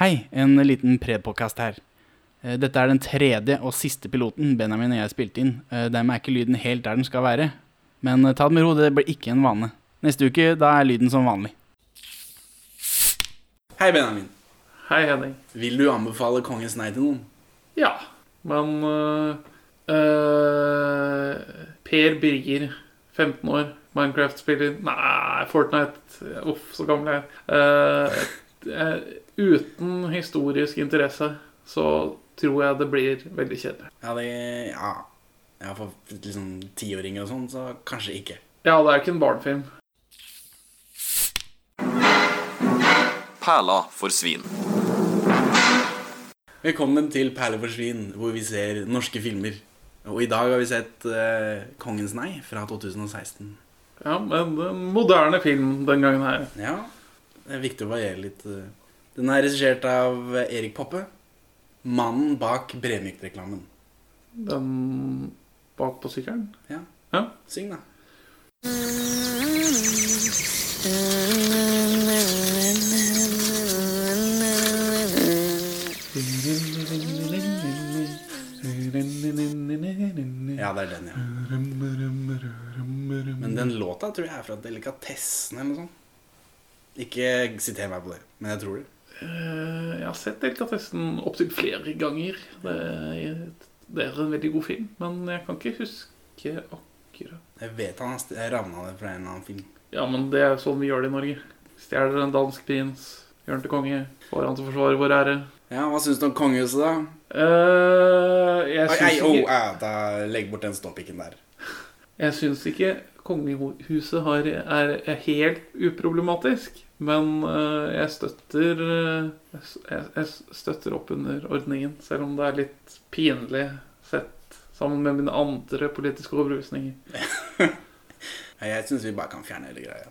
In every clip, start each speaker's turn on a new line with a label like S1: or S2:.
S1: Hei, en liten pre-podcast her. Eh, Dette er den tredje og siste piloten Benjamin og jeg spilte inn. Eh, Dermed er ikke lyden helt der den skal være. Men eh, ta det med ro, det blir ikke en vane. Neste uke, da er lyden som vanlig. Hei, Benjamin.
S2: Hei, Henning.
S1: Vil du anbefale Kongens nei til noen?
S2: Ja, men øh, øh, Per Birger, 15 år, Minecraft-spiller Nei, Fortnite. Uff, så gammel jeg er. Eh, eh, uten historisk interesse så tror jeg det blir veldig kjedelig.
S1: Ja, det Ja. Jeg har fått liksom tiåringer og sånn, så kanskje ikke.
S2: Ja, det er ikke en barnefilm.
S3: Perla for svin.
S1: Velkommen til Perle for svin, hvor vi ser norske filmer. Og i dag har vi sett eh, Kongens nei fra 2016.
S2: Ja, men en moderne film den gangen her.
S1: Ja, det er viktig å variere litt. eh. Den er regissert av eh, Erik Poppe, mannen bak Bremyk-reklamen.
S2: Den bak på sykkelen.
S1: Ja,
S2: Ja.
S1: syng da. Ja, det er den, ja.
S2: Eh,
S1: Men den låta tror jeg er fra Delikatessen eller noe sånt. Ikke siter meg på det, men jeg tror det.
S2: Eh, Jeg har sett Delikatessen opptil flere ganger. Det, det er en veldig god film, men jeg kan ikke huske akkurat
S1: Jeg vet han har st- jeg ravna det fra en eller annen film.
S2: Ja, men det er sånn vi gjør det i Norge. Stjeler en dansk prins, gjør han til konge, får han til å forsvare vår ære.
S1: Ja, hva syns du om kongehuset, da?
S2: Eh, jeg
S1: Oi,
S2: syns
S1: ei, oh,
S2: ikke-
S1: ja, da Legg bort den ståpikken der.
S2: Jeg syns ikke kongehuset har, er, er helt uproblematisk. Men eh, jeg støtter eh, jeg, s- jeg, jeg s- støtter opp under ordningen, selv om det er litt pinlig sett sammen med mine andre politiske overbevisninger.
S1: Ja, Jeg syns vi bare kan fjerne hele greia.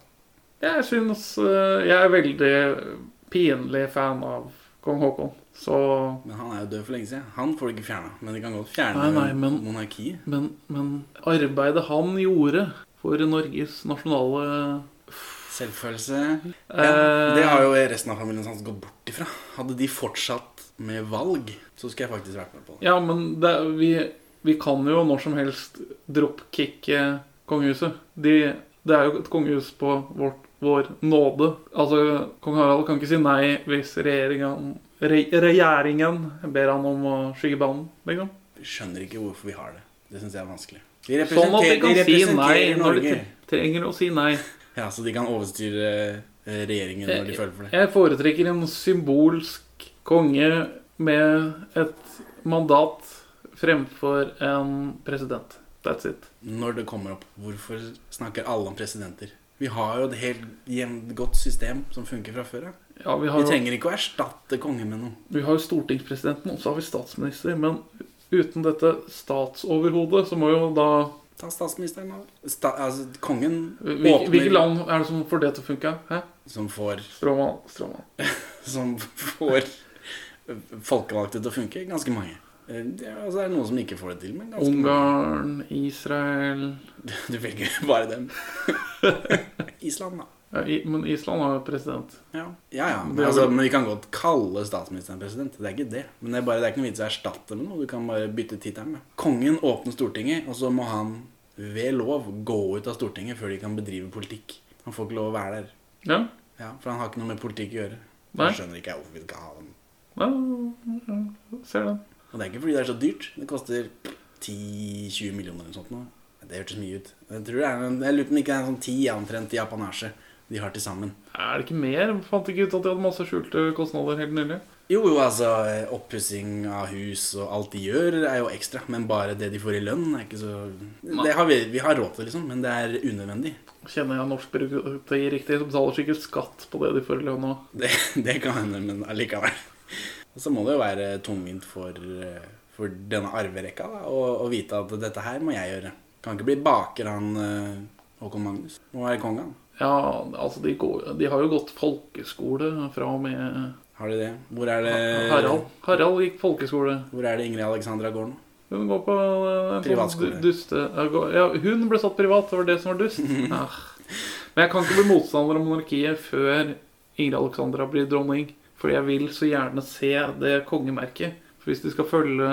S2: Jeg syns eh, Jeg er veldig pinlig fan av kong Haakon, så
S1: Men han er jo død for lenge siden. Han får du ikke fjerna. Men de kan godt fjerne
S2: Nei, nei, men-
S1: monarkiet.
S2: men, men arbeidet han gjorde for Norges nasjonale
S1: Selvfølelse
S2: Eh,
S1: ja, Det har jo resten av familien hans gått bort ifra. Hadde de fortsatt med valg, så skulle jeg faktisk vært med på det.
S2: Ja, men det, vi, vi kan jo når som helst dropkicke kongehuset. De, det er jo et kongehus på vårt, vår nåde. Altså, Kong Harald kan ikke si nei hvis regjeringen, re, regjeringen ber han om å skygge banen. Liksom.
S1: Skjønner ikke hvorfor vi har det. Det syns jeg er vanskelig. De
S2: Sånn at de kan
S1: de
S2: si nei
S1: representerer
S2: når de tre- trenger å si nei.
S1: Ja, Så de kan overstyre eh, regjeringen når de føler for det.
S2: Jeg foretrekker en symbolsk konge med et mandat fremfor en president. That's it.
S1: Når det kommer opp, hvorfor snakker alle om presidenter? Vi har jo et helt jevnt godt system som funker fra før av.
S2: Ja, vi har
S1: Vi
S2: jo-
S1: trenger ikke å erstatte kongen med noe.
S2: Vi har jo stortingspresidenten, og så har vi statsminister. Men uten dette statsoverhodet, så må jo da
S1: Ta statsministeren over. Sta altså, kongen
S2: Hvilke,
S1: åpner
S2: hvilke land er det som får det til å funke? Hæ?
S1: som får
S2: Stråmann. Stråmann.
S1: som får folkevalgte til å funke. Ganske mange. Eh, Det er, altså, det er noen som ikke får det til, men ganske mange.
S2: Ungarn, Israel
S1: Du velger bare dem. Island, da.
S2: ja, i, Men Island har jo president.
S1: Ja, ja. ja.
S2: Det
S1: Men,
S2: er
S1: altså,
S2: vel-
S1: men vi kan godt kalle statsministeren president. Det er ikke det. Men det er, bare, det er ikke noe vits i å erstatte med noe. Du kan bare bytte tittelen med. Kongen åpner Stortinget, og så må han ved lov gå ut av Stortinget før de kan bedrive politikk. Han får ikke lov å være der.
S2: Ja.
S1: Ja, For han har ikke noe med politikk å gjøre.
S2: Nei.
S1: Jeg skjønner ikke hvorfor vi skal ha dem.
S2: ja, ja, ser den.
S1: Og det er ikke fordi det er så dyrt. Det koster 10-20 millioner eller noe sånt. nå. Det hørtes mye ut. Jeg, tror det er, en- jeg lurer på om det ikke er en sånn 10 omtrent i apanasje de har til sammen.
S2: Er det ikke mer? Fant ikke ut at de hadde masse skjulte kostnader helt nylig.
S1: Jo, jo, altså eh, oppussing av hus og alt de gjør, er jo ekstra. Men bare det de får i lønn, er ikke så det har vi, vi har råd til, liksom, men det er unødvendig.
S2: Kjenner jeg norsk byråkrati riktig, så betaler sikkert skatt på det de får i lønn nå.
S1: Det, det kan hende, men allikevel. Og så må det jo være tungvint for, eh, for denne arverekka da, å, å vite at dette her må jeg gjøre. Kan ikke bli baker, han eh, Håkon Magnus. Må være konge, han.
S2: Ja, altså, de, går, de har jo gått folkeskole fra og med
S1: Har de det? Hvor er det
S2: Harald. Harald gikk folkeskole.
S1: Hvor er det Ingrid Alexandra går nå?
S2: Hun går på eh, en
S1: Privatskole.
S2: sånn du- duste... ja, gå- Ja, hun ble satt privat, det var det som var dust. Ah. Men jeg kan ikke bli motstander av monarkiet før Ingrid Alexandra blir dronning. For jeg vil så gjerne se det kongemerket. For hvis de skal følge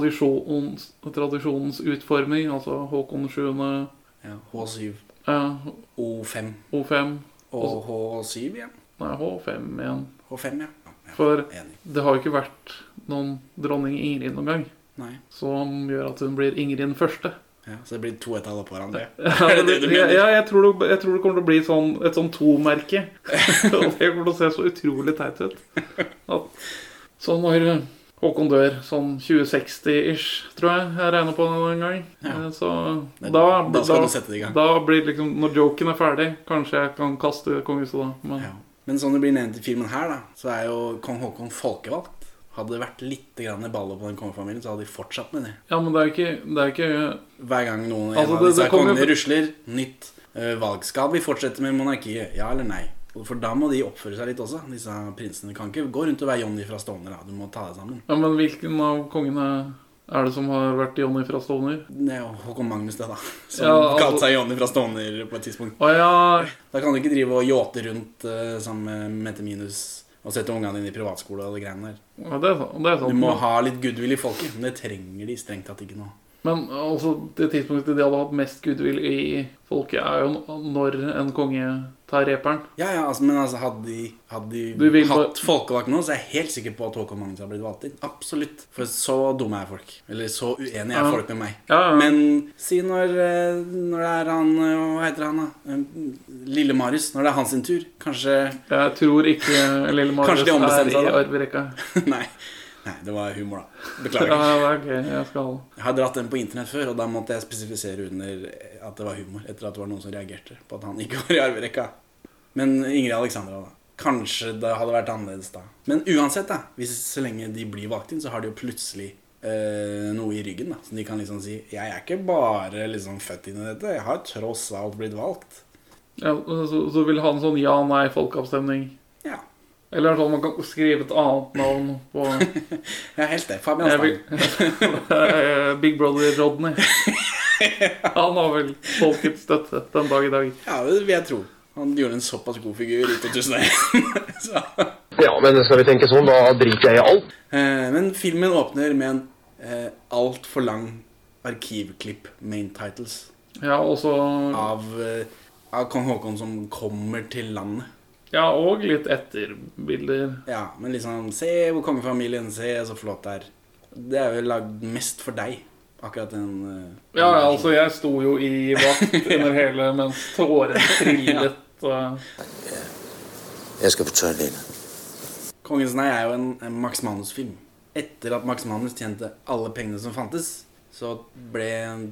S2: tradisjonens, tradisjonens utforming, altså Håkon 7.,
S1: Ja, H7,
S2: eh,
S1: O5
S2: O5
S1: og H7 igjen.
S2: Nei, H5 igjen.
S1: H5, ja. ja, ja.
S2: For
S1: Enig.
S2: det har jo ikke vært noen dronning Ingrid noen gang.
S1: Nei.
S2: Som gjør at hun blir Ingrid den første.
S1: Ja, så det blir to et halvt på hverandre.
S2: Ja,
S1: Er det det du mener?
S2: ja, jeg, tror det, jeg tror det kommer til å bli sånn, et sånn to-merke. Og det kommer til å se så utrolig teit ut. At, så når Håkon dør sånn 2060-ish, tror jeg jeg regner på det en gang.
S1: Ja.
S2: Eh, Så
S1: Men
S2: da,
S1: da skal
S2: da,
S1: du sette det i gang.
S2: da blir det liksom Når joken er ferdig, kanskje jeg kan kaste kongehuset da. Men
S1: Ja. Men sånn det blir nevnt i filmen her, da, så er jo kong Haakon folkevalgt. Hadde det vært litt grann baller på den kongefamilien, så hadde de fortsatt med det.
S2: ja, men det er jo ikke, det er jo ikke
S1: Hver gang noen en
S2: Altså,
S1: av
S2: det-
S1: disse
S2: det kommer jo-
S1: kongene rusler, nytt eh, valg. Skal vi fortsette med monarkiet, ja eller nei? For da må de oppføre seg litt også. Disse prinsene kan ikke gå rundt og være Johnny fra Stovner. da. Du må ta deg sammen.
S2: Ja, men hvilken av kongene er det som har vært Johnny fra Stovner?
S1: Det er jo Håkon Magnus, det, da. Som
S2: Ja, altså-
S1: kalte seg Johnny fra Stovner på et tidspunkt.
S2: Å ja
S1: Da kan du ikke drive og yachte rundt eh, sammen med Mette Minus og sette ungene dine i privatskole og det greiene der.
S2: Sånn, ja, det er, sant- det er sant.
S1: Du må ha litt goodwill i folket, men det trenger de strengt tatt ikke nå.
S2: Men altså, det tidspunktet de hadde hatt mest goodwill i folket, er jo n- når en konge tar reperen.
S1: Ja, ja, altså, men altså, hadde de, hadde
S2: Du
S1: de
S2: vil bare-
S1: hatt folkevalgt nå, så er jeg helt sikker på at Håkon Magnus hadde blitt valgt inn. Absolutt. For så dumme er folk. Eller så uenige er
S2: Ja.
S1: folk med meg.
S2: Ja, ja.
S1: Men si når, eh, når det er han eh, Hva heter han, da? Eh, Lille Marius. Når det er hans sin tur. Kanskje
S2: jeg tror ikke Lille Marius
S1: Kanskje de ombestemte
S2: er
S1: seg
S2: i
S1: da?
S2: arverekka.
S1: Nei. Nei, det var humor, da.
S2: Ja,
S1: Beklager.
S2: ja, ok, jeg skal
S1: Jeg har dratt den på internett før, og da måtte jeg spesifisere under at det var humor. Etter at det var noen som reagerte på at han ikke var i arverekka. Men Ingrid Alexandra, da. Kanskje det hadde vært annerledes da. Men uansett, da. Hvis, så lenge de blir valgt inn, så har de jo plutselig eh, noe i ryggen. da. Så de kan liksom si Jeg er ikke bare liksom født inn i dette. Jeg har tross alt blitt valgt.
S2: ja, så, så vil han sånn ja-nei-folkeavstemning.
S1: Ja.
S2: Eller i hvert fall man kan skrive et annet navn på
S1: Jeg er helt det. Fabian
S2: jeg
S1: Stang.
S2: vil, Eh, Big Brother Rodney. Han har vel folkets støtte den dag i dag.
S1: Ja, det vil jeg tro. Han gjorde en såpass god figur i 2001. så
S3: Ja, men skal vi tenke sånn, da driter jeg i alt.
S1: Eh, Men filmen åpner med en eh, altfor lang arkivklipp, main titles,
S2: Ja, og så
S1: av, eh, av kong Haakon som kommer til landet.
S2: Ja, og litt etterbilder.
S1: Ja, men liksom Se hvor kongefamilien Se så flott det er. Det er jo lagd mest for deg, akkurat den eh,
S2: Ja, altså, jeg sto jo i vakt under hele mens tårene trillet. og-
S4: Jeg skal fortelle deg.
S1: Kongens nei er jo en, en Max Manus-film. Etter at Max Manus tjente alle pengene som fantes, så ble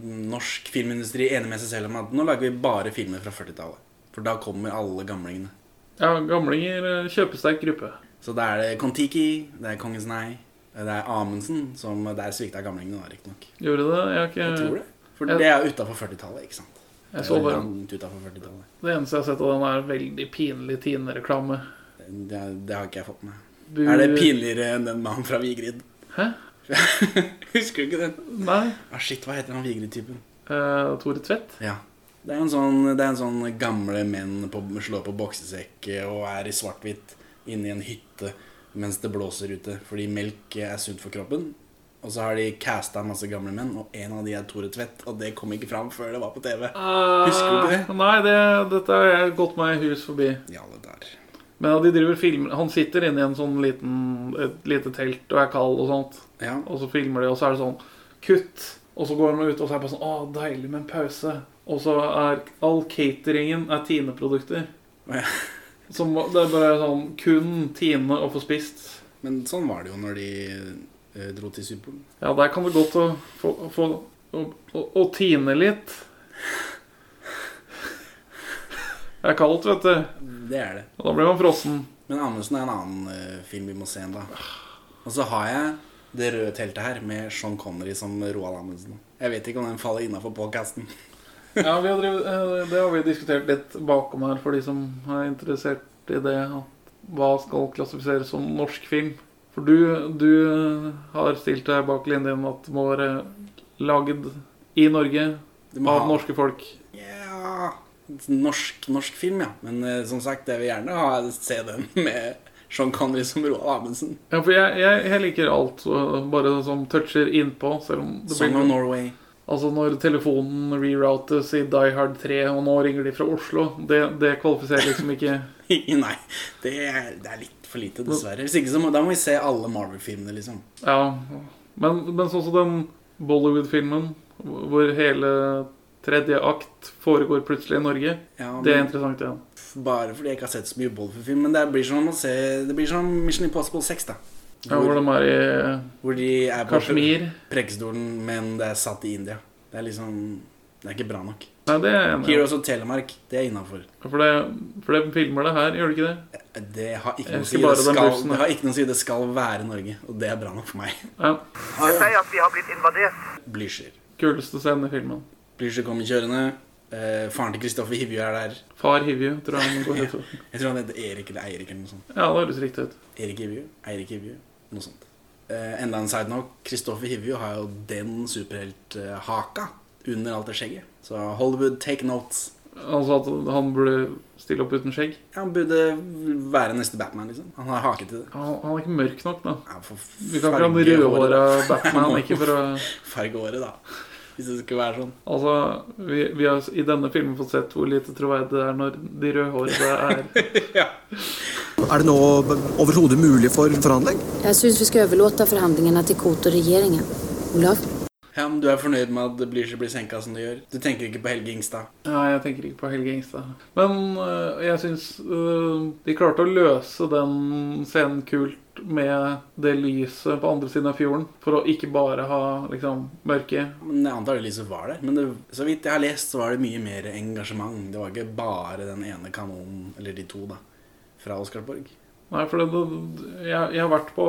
S1: norsk filmindustri enig med seg selv om at nå lager vi bare filmer fra 40-tallet. For da kommer alle gamlingene.
S2: Ja, gamlinger eh, kjøpesterk gruppe.
S1: Så da er det Kon-Tiki, det er Kongens Nei, det er Amundsen, som der svikta gamlingene da, riktignok.
S2: Gjorde det? Jeg
S1: Jeg
S2: har
S1: tror
S2: ikke
S1: det. For det er utafor 40-tallet, ikke sant?
S2: Eh, Jeg
S1: det.
S2: så
S1: er
S2: bare
S1: langt utenfor 40-tallet.
S2: Det eneste jeg har sett av den, er en veldig pinlig Tine-reklame.
S1: Det, er- det har ikke jeg fått med.
S2: Bu-
S1: Er det pinligere enn den mannen fra Vigrid?
S2: Hæ?
S1: Husker du ikke den?
S2: Nei.
S1: Ah, shit, hva heter han Vigrid-typen?
S2: Eh, Tore Tvedt?
S1: Ja. Det er en sånn, det er en sånn gamle menn på, slår på boksesekk og er i svart-hvitt inni en hytte mens det blåser ute, fordi melk er sunt for kroppen. Og så har de casta masse gamle menn, og en av de er Tore Tvedt, og det kom ikke fram før det var på TV. Husker du ikke
S2: det? Ah, Nei, det, dette har jeg gått meg hus forbi.
S1: I alle dager.
S2: Men ja, de driver filmer Han sitter inne i en sånn liten, et lite telt og er kald og sånt.
S1: Ja.
S2: Og så filmer de, og så er det sånn Kutt! Og så går de ut, og så er det bare sånn Å, deilig med en pause. Og så er all cateringen er Tine-produkter.
S1: Å, ja.
S2: Som det er bare sånn Kun Tine å få spist.
S1: Men sånn var det jo når de eh, dro til Sydpolen.
S2: Ja, der kan det godt å få, få å, å, å tine litt. Det er kaldt, vet du.
S1: Det er det.
S2: Og da blir man frossen.
S1: Men Amundsen er en annen eh, film vi må se en dag. Og så har jeg det røde teltet her med Sean Connery som Roald Amundsen. Jeg vet ikke om den faller innafor podkasten.
S2: Ja, vi har drevet, eh, det har vi diskutert litt bakom her, for de som er interessert i det. at Hva skal klassifiseres som norsk film? For du, du har stilt deg bak linjen at det må være lagd i Norge
S1: Du må
S2: av
S1: ha-
S2: norske folk.
S1: Ja Norsk, norsk film, ja. Men eh, som sagt, jeg vil gjerne ha, se den med Sean Connery som Roald Amundsen.
S2: Ja, for jeg, jeg, jeg liker alt så bare det som toucher innpå. Selv om det
S1: Song of
S2: blir,
S1: Norway.
S2: altså når telefonen reroutes i Die Hard 3, og nå ringer de fra Oslo, det, det kvalifiserer liksom ikke
S1: Nei, det er, det er litt for lite, dessverre. Hvis ikke så må, da må vi se alle Marvel-filmene, liksom.
S2: Ja. Men, men sånn som den Bollywood-filmen, hvor hele tredje akt foregår plutselig i Norge,
S1: Ja,
S2: det er
S1: men
S2: interessant, ja.
S1: Bare fordi jeg ikke har sett så mye Bollywood-film. Men det blir som å se Det blir som Mission Impossible 6, da.
S2: ja hvor de er i
S1: hvor de er på
S2: Kashmir.
S1: prekestolen, men det er satt i India. Det er liksom Det er ikke bra nok.
S2: Nei, det er jeg enig i.
S1: Heroes of Telemark, det er innafor.
S2: For det, for det filmer det her, gjør det ikke det?
S1: Det har ikke noe
S2: Jeg
S1: å
S2: husker
S1: si. Det
S2: bare den
S1: skal,
S2: bussen, da.
S1: det har ikke noe å si. Det skal være Norge, og det er bra nok for meg.
S2: Ja.
S5: Det sier at vi har blitt invadert.
S1: Blücher.
S2: Kuleste scenen i filmen.
S1: Blücher kommer kjørende. Eh, faren til Kristoffer Hivju er der.
S2: Far Hivju, tror jeg han går ut for.
S1: Jeg tror han heter Erik eller Eirik eller noe sånt.
S2: Ja, det høres riktig ut.
S1: Erik Hivju, Eirik Hivju, noe sånt. Eh, enda en side note. Kristoffer Hivju har jo den superhelthaka under alt det skjegget. Så Hollywood, take notes.
S2: Han sa at han burde stille opp uten skjegg.
S1: Han burde være neste Batman, liksom. Han har hake til det.
S2: Han, han er ikke mørk nok, da.
S1: Ja, for
S2: Vi kan ikke ha en rødhåra Batman, ikke for å
S1: Fargehåret, da. Hvis det skulle være sånn.
S2: Altså, vi, vi har i denne filmen fått sett hvor lite troverdig det er når de rødhårede er
S6: Er det nå overhodet mulig for forhandling?
S7: Jeg syns vi skal overlate forhandlingene til KOT og regjeringen. Olav?
S1: Ja, men Du er fornøyd med at Blücher blir senka som du gjør? Du tenker ikke på Helge Ingstad?
S2: Nei, jeg tenker ikke på Helge Ingstad. Men øh, jeg syns øh, de klarte å løse den scenen kult med det lyset på andre siden av fjorden. For å ikke bare ha liksom mørke.
S1: Men Jeg antar det lyset var der. Men det, så vidt jeg har lest, så var det mye mer engasjement. Det var ikke bare den ene kanonen, eller de to, da, fra Oscarsborg.
S2: Nei, for det, det, jeg, jeg har vært på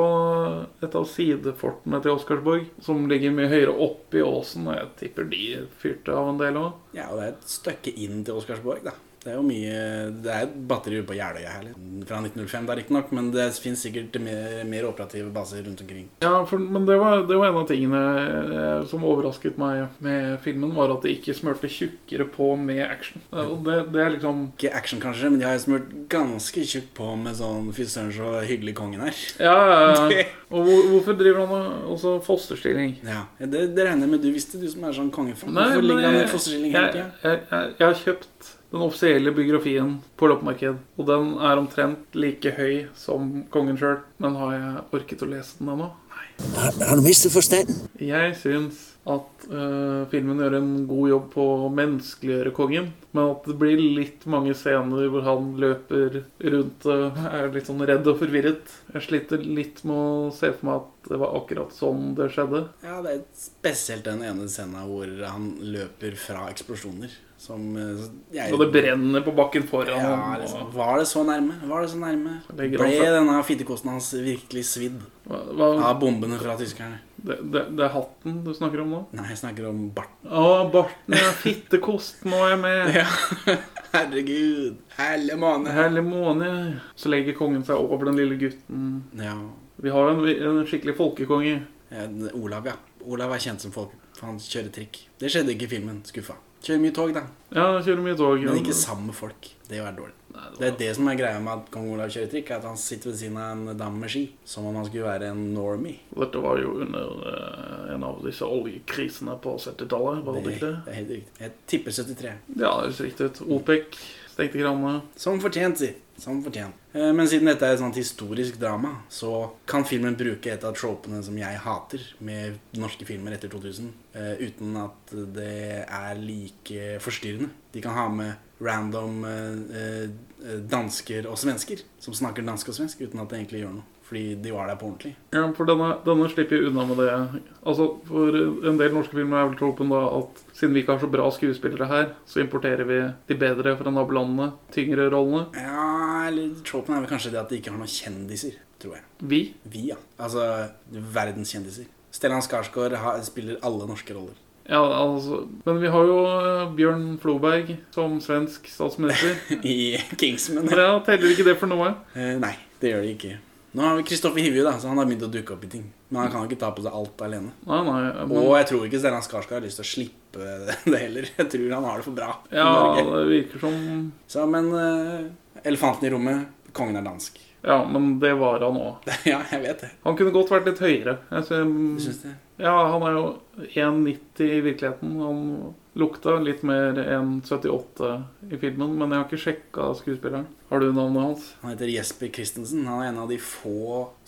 S2: et av sidefortene til Oscarsborg, som ligger mye høyere oppe i åsen, og jeg tipper de fyrte av en del òg.
S1: Ja, og det er et stykke inn til Oscarsborg, da. Det er jo mye Det er et batteri på Jeløya her, liksom. fra 1905 da, riktignok, men det fins sikkert mer, mer operative baser rundt omkring.
S2: Ja, for, men det var, det var en av tingene eh, som overrasket meg med filmen, var at de ikke smurte tjukkere på med action. Eh, Og det, det er liksom
S1: Ikke action, kanskje, men de har jo smurt ganske tjukt på med sånn Fy søren, så hyggelig kongen er.
S2: Ja, ja, ja. Og hvor, hvorfor driver han og- også fosterstilling?
S1: Ja, Det, det regner jeg med du visste, du som er sånn kongefan.
S2: Nei,
S1: Hvorfor ligger han i
S2: jeg, jeg,
S1: fosterstilling hele
S2: jeg,
S1: tida?
S2: jeg, jeg har kjøpt den offisielle biografien på loppemarked, og den er omtrent like høy som kongen sjøl. Men har jeg orket å lese den ennå?
S4: Har, har du mistet forstanden?
S2: Jeg syns at øh, filmen gjør en god jobb på å menneskeliggjøre kongen. Men at det blir litt mange scener hvor han løper rundt og er litt sånn redd og forvirret. Jeg sliter litt med å se for meg at det var akkurat sånn det skjedde.
S1: Ja, det er spesielt den ene scenen hvor han løper fra eksplosjoner. Som eh, jeg,
S2: Og det brenner på bakken foran ham.
S1: Ja, liksom. Var det så nærme? Var det så nærme?
S2: Legger
S1: Ble
S2: han seg-
S1: denne fittekosten hans virkelig svidd
S2: Hva, hva,
S1: av bombene fra tyskerne?
S2: det, det, det er hatten du snakker om nå?
S1: Nei, jeg snakker om barten.
S2: Å, barten er fittekost, nå er jeg med!
S1: Herregud! Herlig måne!
S2: Herlig måne. Så legger kongen seg over den lille gutten.
S1: Ja,
S2: Vi har jo en, en skikkelig folkekonge.
S1: eh, Olav, ja. Olav er kjent som folk. For han kjører trikk. Det skjedde ikke i filmen. Skuffa. Kjører mye tog, da.
S2: Ja, han kjører mye tog.
S1: Men ikke sammen med folk. Det er dårlig. Det er det som er greia med at kong Olav kjører trikk, er at han sitter ved siden av en dame med ski. Som om han skulle være en normie.
S2: Dette var jo under eh, en av disse oljekrisene på 70-tallet, var det
S1: Det,
S2: ikke det?
S1: det er helt riktig. Jeg tipper 73.
S2: Ja, det høres riktig ut. OPEC stengte kranene.
S1: Som fortjent, si. Som fortjent. Eh, Men siden dette er et sånt historisk drama, så kan filmen bruke et av tropene som jeg hater med norske filmer etter 2000, eh, uten at det er like forstyrrende. De kan ha med random eh, eh, dansker og svensker som snakker dansk og svensk, uten at det egentlig gjør noe. Fordi de var der på ordentlig.
S2: Ja, for denne, denne slipper jo unna med det. Altså, For en del norske filmer er vel tropen da at siden vi ikke har så bra skuespillere her, så importerer vi de bedre fra nabolandene, tyngre rollene.
S1: Ja, eller tropen er vel kanskje det at de ikke har noen kjendiser, tror jeg.
S2: Vi.
S1: Vi, ja. Altså verdenskjendiser. Stellan Skarsgård har- spiller alle norske roller.
S2: Ja, altså, Men vi har jo eh, Bjørn Floberg som svensk statsminister.
S1: I Kingsman.
S2: Men ja, Teller ikke det for noe?
S1: Eh, nei, det gjør det ikke. Nå har vi Kristoffer Hivju, da, så han har begynt å dukke opp i ting. Men han kan jo ikke ta på seg alt alene.
S2: Nei, nei. men-
S1: Og jeg tror ikke Stellan Skarsgård har lyst til å slippe det heller. Jeg tror han har det for bra. i
S2: Ja,
S1: Norge.
S2: det virker som
S1: Så, men eh, elefanten i rommet kongen er dansk.
S2: Ja, men det var han òg.
S1: Ja, jeg vet det.
S2: Han kunne godt vært litt høyere. Jeg
S1: Du
S2: synes,
S1: syns det?
S2: ja, han er jo 1,90 i virkeligheten. Han lukta litt mer 1,78 i filmen, men jeg har ikke sjekka skuespilleren. Har du navnet hans?
S1: Han heter Jesper Christensen. Han er en av de få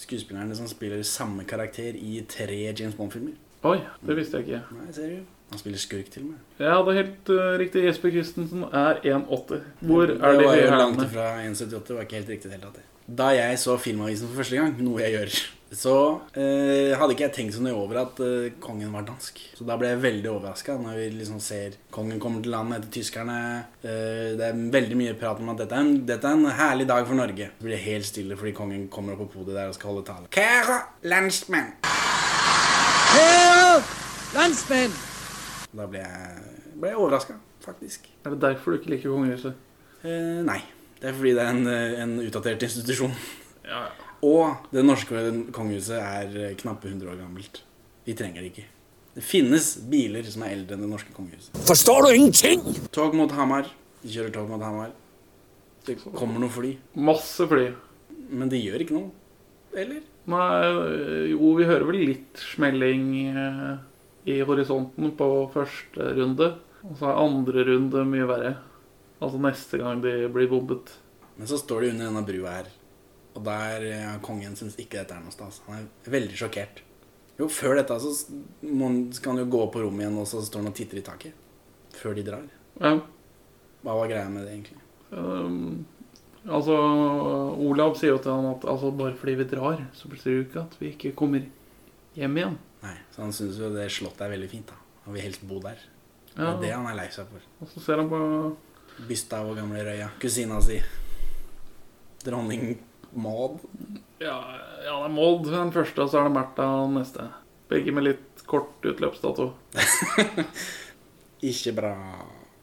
S1: skuespillerne som spiller samme karakter i tre James Bond-filmer.
S2: Oi, det visste jeg ikke.
S1: Nei, ser du? Han spiller skurk, til og med.
S2: Ja, det er helt eh, riktig. Jesper Christensen er 1,80. Hvor
S1: det
S2: er de
S1: var
S2: høye
S1: jo langt
S2: hælene?
S1: ifra 1,78. Det var ikke helt riktig i det hele tatt. det. Da jeg så Filmavisen for første gang, noe jeg gjør, så eh, hadde ikke jeg tenkt så nøye over at eh, kongen var dansk. Så da ble jeg veldig overraska når vi liksom ser kongen kommer til landet etter tyskerne. Eh, det er veldig mye prat om at dette er, en, dette er en herlig dag for Norge. Det blir helt stille fordi kongen kommer opp på podiet der og skal holde tale. Kære landsmenn! Da ble jeg, ble jeg overraska, faktisk.
S2: Er det derfor du ikke liker kongehuset?
S1: Eh, nei. Det er fordi det er en, eh, en utdatert institusjon.
S2: Ja, ja.
S1: Og det norske kongehuset er eh, knappe 100 år gammelt. Vi trenger det ikke. Det finnes biler som er eldre enn det norske kongehuset.
S4: Forstår du ingenting?
S1: Tog mot Hamar. De kjører tog mot Hamar. Det kommer noen fly.
S2: Masse fly.
S1: Men de gjør ikke noe. Eller?
S2: Nei, eh, jo, vi hører vel litt smelling eh, i horisonten på første runde. Og så er andre runde mye verre. Altså neste gang de blir bombet.
S1: Men så står de under denne brua her. Og der eh, kongen syns ikke dette er noe stas. Han er veldig sjokkert. Jo, før dette så s- må han- skal han jo gå på rommet igjen, og så står han og titter i taket. Før de drar.
S2: Ja,
S1: Hva var greia med det, egentlig?
S2: ehm, altså, Olav sier jo til han at altså, bare fordi vi drar, så betyr det jo ikke at vi ikke kommer hjem igjen.
S1: Nei, Så han syns jo det slottet er veldig fint, da. Han vil helst bo der. Det
S2: Ja,
S1: er det han er lei seg for.
S2: og så ser han på
S1: Bysta og gamle Røya. Kusina si. Dronning Maud.
S2: Ja, ja det er Mold den første, og så er det Märtha den neste. Begge med litt kort utløpsdato.
S1: Ikke bra.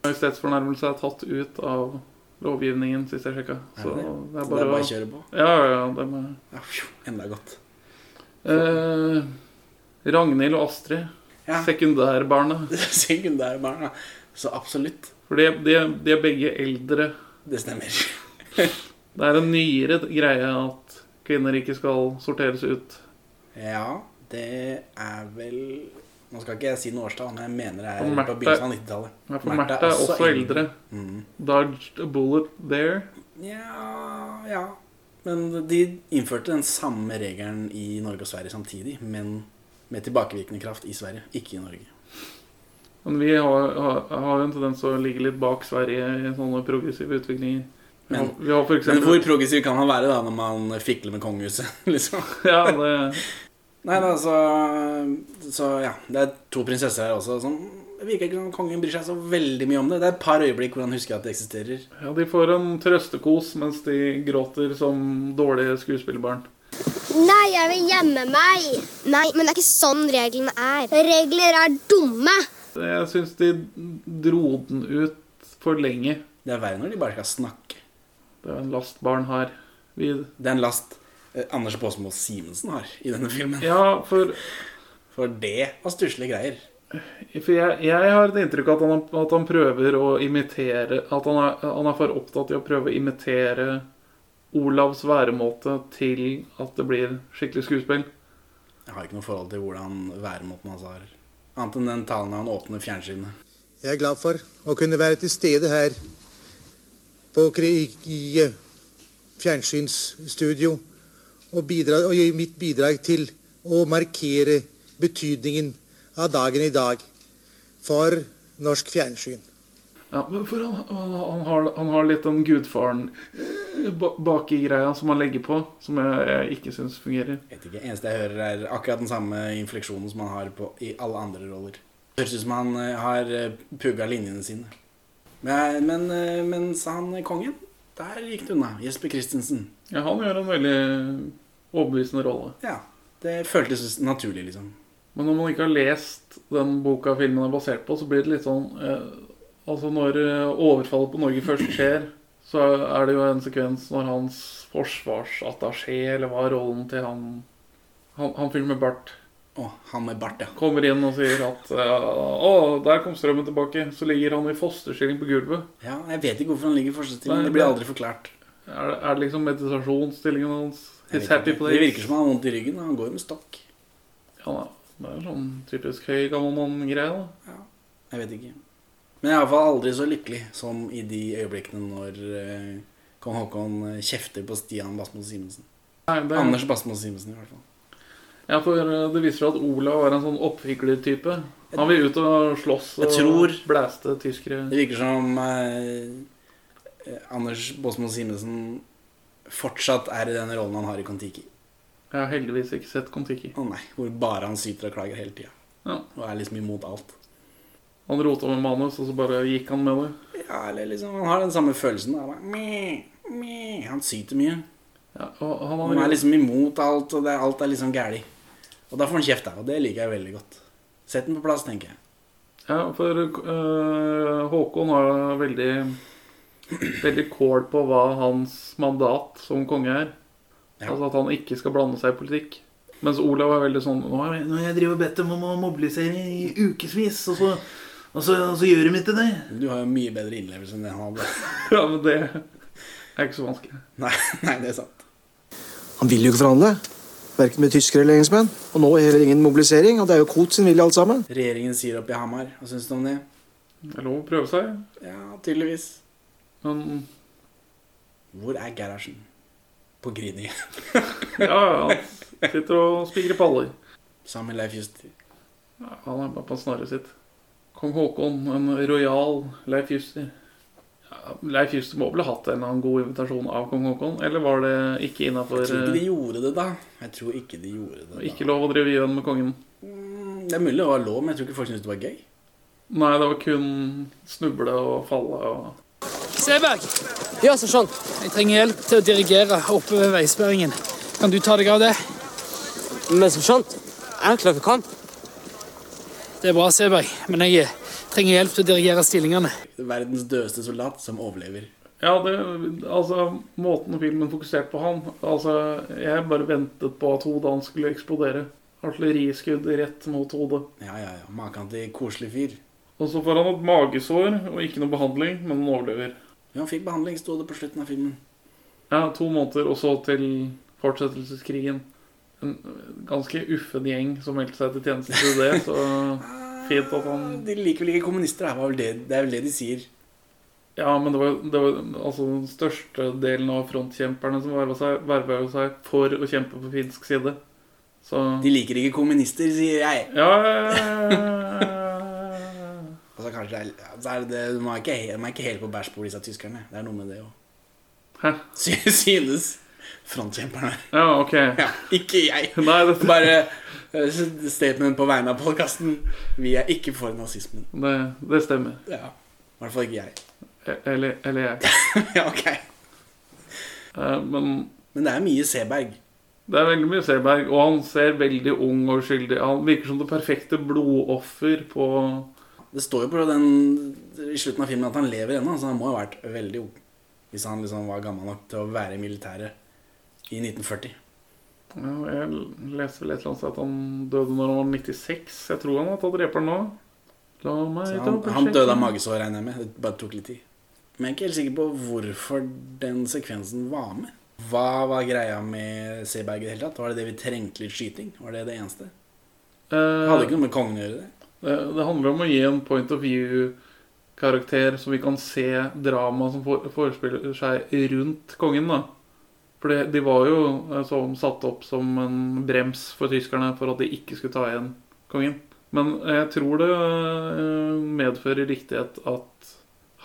S2: Høyesterettsfornærmelse er tatt ut av lovgivningen, sist jeg sjekka.
S1: Er
S2: Så
S1: det
S2: det
S1: det?
S2: er
S1: Så det
S2: bare
S1: er
S2: å
S1: bare å kjøre på.
S2: Ja, ja, ja. Det med.
S1: Ja, phew, enda godt.
S2: Eh, Ragnhild og Astrid,
S1: Ja.
S2: sekundærbarna.
S1: Sekundærbarna. Så absolutt.
S2: For de, de, de er begge eldre.
S1: Det stemmer.
S2: Det er en nyere greie at kvinner ikke skal sorteres ut.
S1: Ja, det er vel Nå skal ikke jeg si noe årstall, men jeg mener det
S2: Og
S1: er
S2: Märtha-
S1: på begynnelsen av 90-tallet.
S2: Ja, For Märtha er også eldre.
S1: Mm.
S2: Dodged a bullet there.
S1: Ja, ja. Men de innførte den samme regelen i Norge og Sverige samtidig, men med tilbakevirkende kraft i Sverige, ikke i Norge.
S2: Men vi har, har, har jo en tendens til å ligge litt bak Sverige i sånne progressive utviklinger. Vi har,
S1: Men-
S2: vi har for
S1: Men hvor
S2: eksempel
S1: progressiv kan man være da når man fikler med kongehuset? liksom?
S2: ja, det,
S1: Nei da, så, så ja. Det er to prinsesser her også. Som, det virker ikke som kongen bryr seg så veldig mye om det. Det er et par øyeblikk hvor han husker at det eksisterer.
S2: ja, De får en trøstekos mens de gråter som dårlige skuespillerbarn.
S8: Nei, jeg vil gjemme meg. Nei, men det er ikke sånn reglene er. Regler er dumme.
S2: Jeg syns de dro den ut for lenge.
S1: Det er verre når de bare skal snakke.
S2: Det er en last barn har. Vi,
S1: Det er en last eh, Anders Baasmo Simensen har i denne filmen.
S2: ja, for,
S1: For det var stusslige greier.
S2: for jeg, jeg har et inntrykk av at han, at han prøver å imitere At han er, han er for opptatt i å prøve å imitere Olavs væremåte til at det blir skikkelig skuespill.
S1: Jeg har ikke noe forhold til hvordan væremåten hans har. Annet enn den talen han åpner fjernsynet.
S9: Jeg er glad for å kunne være til stede her på, kri- i eh, fjernsynsstudio og, bidra, og gi mitt bidrag til å markere betydningen av dagen i dag for norsk fjernsyn.
S2: Ja, men for han, han, han, har, han har litt den gudfaren eh, ba- baki greia som han legger på, som jeg, jeg ikke syns fungerer.
S1: Jeg vet ikke, Eneste jeg hører, er akkurat den samme infleksjonen som han har på, i alle andre roller. Det høres ut som han eh, har eh, pugga linjene sine. Men, men eh, mens han eh, kongen, der gikk det unna. Jesper Christensen.
S2: Ja, han gjør en veldig overbevisende rolle.
S1: Ja. Det føltes naturlig, liksom.
S2: Men når man ikke har lest den boka filmen er basert på, så blir det litt sånn eh, Altså, når eh, overfallet på Norge først skjer, så er det jo en sekvens når hans forsvarsattaché, eller hva er rollen til han Han, han fyren med bart,
S1: Å, han med bart, ja.
S2: kommer inn og sier at eh, Å, der kom strømmen tilbake. Så ligger han i fosterstilling på gulvet.
S1: ja. Jeg vet ikke hvorfor han ligger i
S2: Nei,
S1: forstillingen. Det blir
S2: det-
S1: aldri forklart.
S2: Er det, er det liksom meditasjonsstillingen hans?
S1: Jeg
S2: His
S1: vet
S2: happy
S1: ikke.
S2: place?
S1: Det virker som han har vondt i ryggen. og Han går med stokk.
S2: Ja, da. Det er sånn typisk høy gammel mann-greie, da.
S1: Jeg vet ikke. Men jeg er iallfall aldri så lykkelig som i de øyeblikkene når eh, kong Haakon eh, kjefter på Stian Basmo Simensen.
S2: Nei, det er,
S1: Anders Basmo Simensen, i hvert fall.
S2: Ja, for eh, det viser seg at Olav er en sånn oppviglertype. Han vil ut og slåss og
S1: Jeg tror-
S2: blæste tyskere.
S1: Det virker som eh, eh, Anders Basmo Simensen fortsatt er i den rollen han har i Kon-Tiki.
S2: Jeg har heldigvis ikke sett Kon-Tiki.
S1: Å nei, hvor bare han syter og klager hele tida.
S2: Ja.
S1: Og er liksom imot alt.
S2: Han rota med manus, og så bare gikk han med det.
S1: Ja, eller liksom, Han har den samme følelsen. Da. Bare, meh, meh. Han syter mye.
S2: Ja, og han
S1: Han
S2: har
S1: er liksom imot alt, og det er, alt er liksom gæli. Og da får han kjeft, da. Og det liker jeg veldig godt. Sett den på plass, tenker jeg.
S2: Ja, for eh, Håkon har veldig Veldig kål på hva hans mandat som konge er.
S1: Ja.
S2: Altså at han ikke skal blande seg i politikk. Mens Olav er veldig sånn Nå har jeg, nå har jeg drevet og bedt dem om å mobilisere i ukevis, og så, og så, og så gjør de ikke det.
S1: Du har jo mye bedre innlevelse enn det han hadde.
S2: Ja, men det er ikke så vanskelig.
S1: Nei, nei, det er sant.
S6: Han vil jo ikke forhandle. Verken med tyskere eller engelskmenn. Og nå heller ingen mobilisering. Og det er jo Koht sin vilje, alt sammen.
S1: Regjeringen sier opp i Hamar. Hva syns du om det?
S2: Det er lov å prøve seg,
S1: Ja, tydeligvis.
S2: men
S1: Hvor er Gerhardsen? På Grini.
S2: ja, ja, han sitter og spikrer paller.
S1: Sammen med Leif Juster.
S2: Ja, han er bare på snarret sitt. Kong Haakon, en rojal Leif Juster. Ja, Leif Juster må vel ha hatt en eller annen god invitasjon av kong Haakon? Eller var det ikke
S1: Jeg
S2: innafor
S1: tror ikke de gjorde det, da. Jeg tror ikke de gjorde det.
S2: Ikke lov å drive gjøn med kongen?
S1: Da. Det er mulig det var lov, men jeg tror ikke folk syntes det var gøy.
S2: Nei, det var kun snuble og falle og
S10: Seberg! Ja, sersjant. Jeg trenger hjelp til å dirigere oppe ved veisperringen. Kan du ta deg av det? Men sersjant, jeg er klar for kamp. Det er bra, Seberg, men jeg eh, trenger hjelp til å dirigere stillingene.
S1: Verdens dødeste soldat som overlever.
S2: Ja, det, altså, måten filmen fokuserte på han Altså, jeg bare ventet på at hodet hans skulle eksplodere. Artilleriskudd rett mot hodet.
S1: Ja, ja, ja. Maken til koselig fyr.
S2: Og så får han et magesår og ikke noe behandling, men han overlever.
S1: Ja, han fikk behandling, sto det på slutten av filmen.
S2: Ja, to måneder, og så til fortsettelseskrigen. En eh, ganske uffen gjeng som meldte seg til tjeneste til det, så fint at han
S1: De liker vel ikke kommunister, det er vel det, det, er vel det de sier.
S2: Ja, men det var, det var altså den største delen av frontkjemperne som verva seg, verva jo seg for å kjempe på finsk side. Så
S1: De liker ikke kommunister, sier jeg.
S2: Ja Ja,
S1: Altså, kanskje det er, ja, så er det, det- de, er ikke, he- de er ikke helt på bæsj på disse tyskerne. Det er noe med det òg.
S2: Hæ?
S1: Synes frontkjemperne.
S2: OK.
S1: Ja, ikke jeg.
S2: Nei, dette
S1: Bare eh, statement på vegne av podkasten. Vi er ikke for nazismen.
S2: det, det stemmer.
S1: Ja. I hvert fall ikke jeg.
S2: E- Eller, eller jeg.
S1: Ja, ok.
S2: Eh, Men
S1: Men det er mye Seberg.
S2: Det er veldig mye Seberg, og han ser veldig ung og uskyldig Han virker som det perfekte blodoffer på
S1: Det står jo på den, i slutten av filmen at han lever ennå, så han må ha vært veldig ung. Hvis han liksom var gammel nok til å være i militæret i 1940.
S2: ja, Jeg leste vel et eller annet sted at han døde når han var 96. Jeg tror han har tatt reperen nå. La meg
S1: Så han,
S2: dobbeltsjekke.
S1: han døde av magesår, regner jeg med. Det bare tok litt tid. Men jeg er ikke helt sikker på hvorfor den sekvensen var med. Hva var greia med Seberg i det hele tatt? Var det det vi trengte litt skyting? Var det det eneste? Det hadde
S2: Eh,
S1: ikke noe med kongen å gjøre, det.
S2: det, det handler om å gi en point of view-karakter som vi kan se drama som for, forespiller seg rundt kongen, da. For det- de var jo eh, som satt opp som en brems for tyskerne for at de ikke skulle ta igjen kongen. Men jeg tror det eh, medfører riktighet at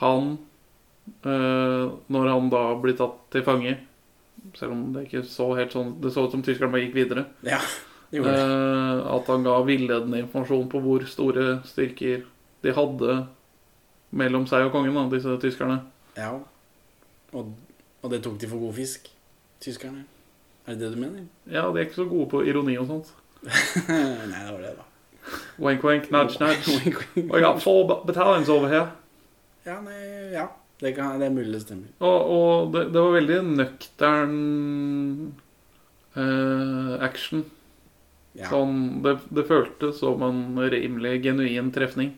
S2: han, eh, når han da blir tatt til fange Selv om det ikke så helt sånn Det så ut som tyskerne bare gikk videre.
S1: Ja, det gjorde det.
S2: Eh, at han ga villedende informasjon på hvor store styrker de hadde mellom seg og kongen, da, disse tyskerne.
S1: Ja. Og, og det tok de for god fisk, tyskerne. Er det det du mener?
S2: Ja, de er ikke så gode på ironi og sånt.
S1: Nei, det var det, da.
S2: Wink, wink, nudge, nudge.
S1: Wink, wink.
S2: We got four ba- battalions over here.
S1: Ja, nei, ja. Det, kan, det er mulig det stemmer.
S2: Og, og det, det var veldig nøktern eh, action.
S1: Ja.
S2: Sånn, det, det føltes som en rimelig genuin trefning.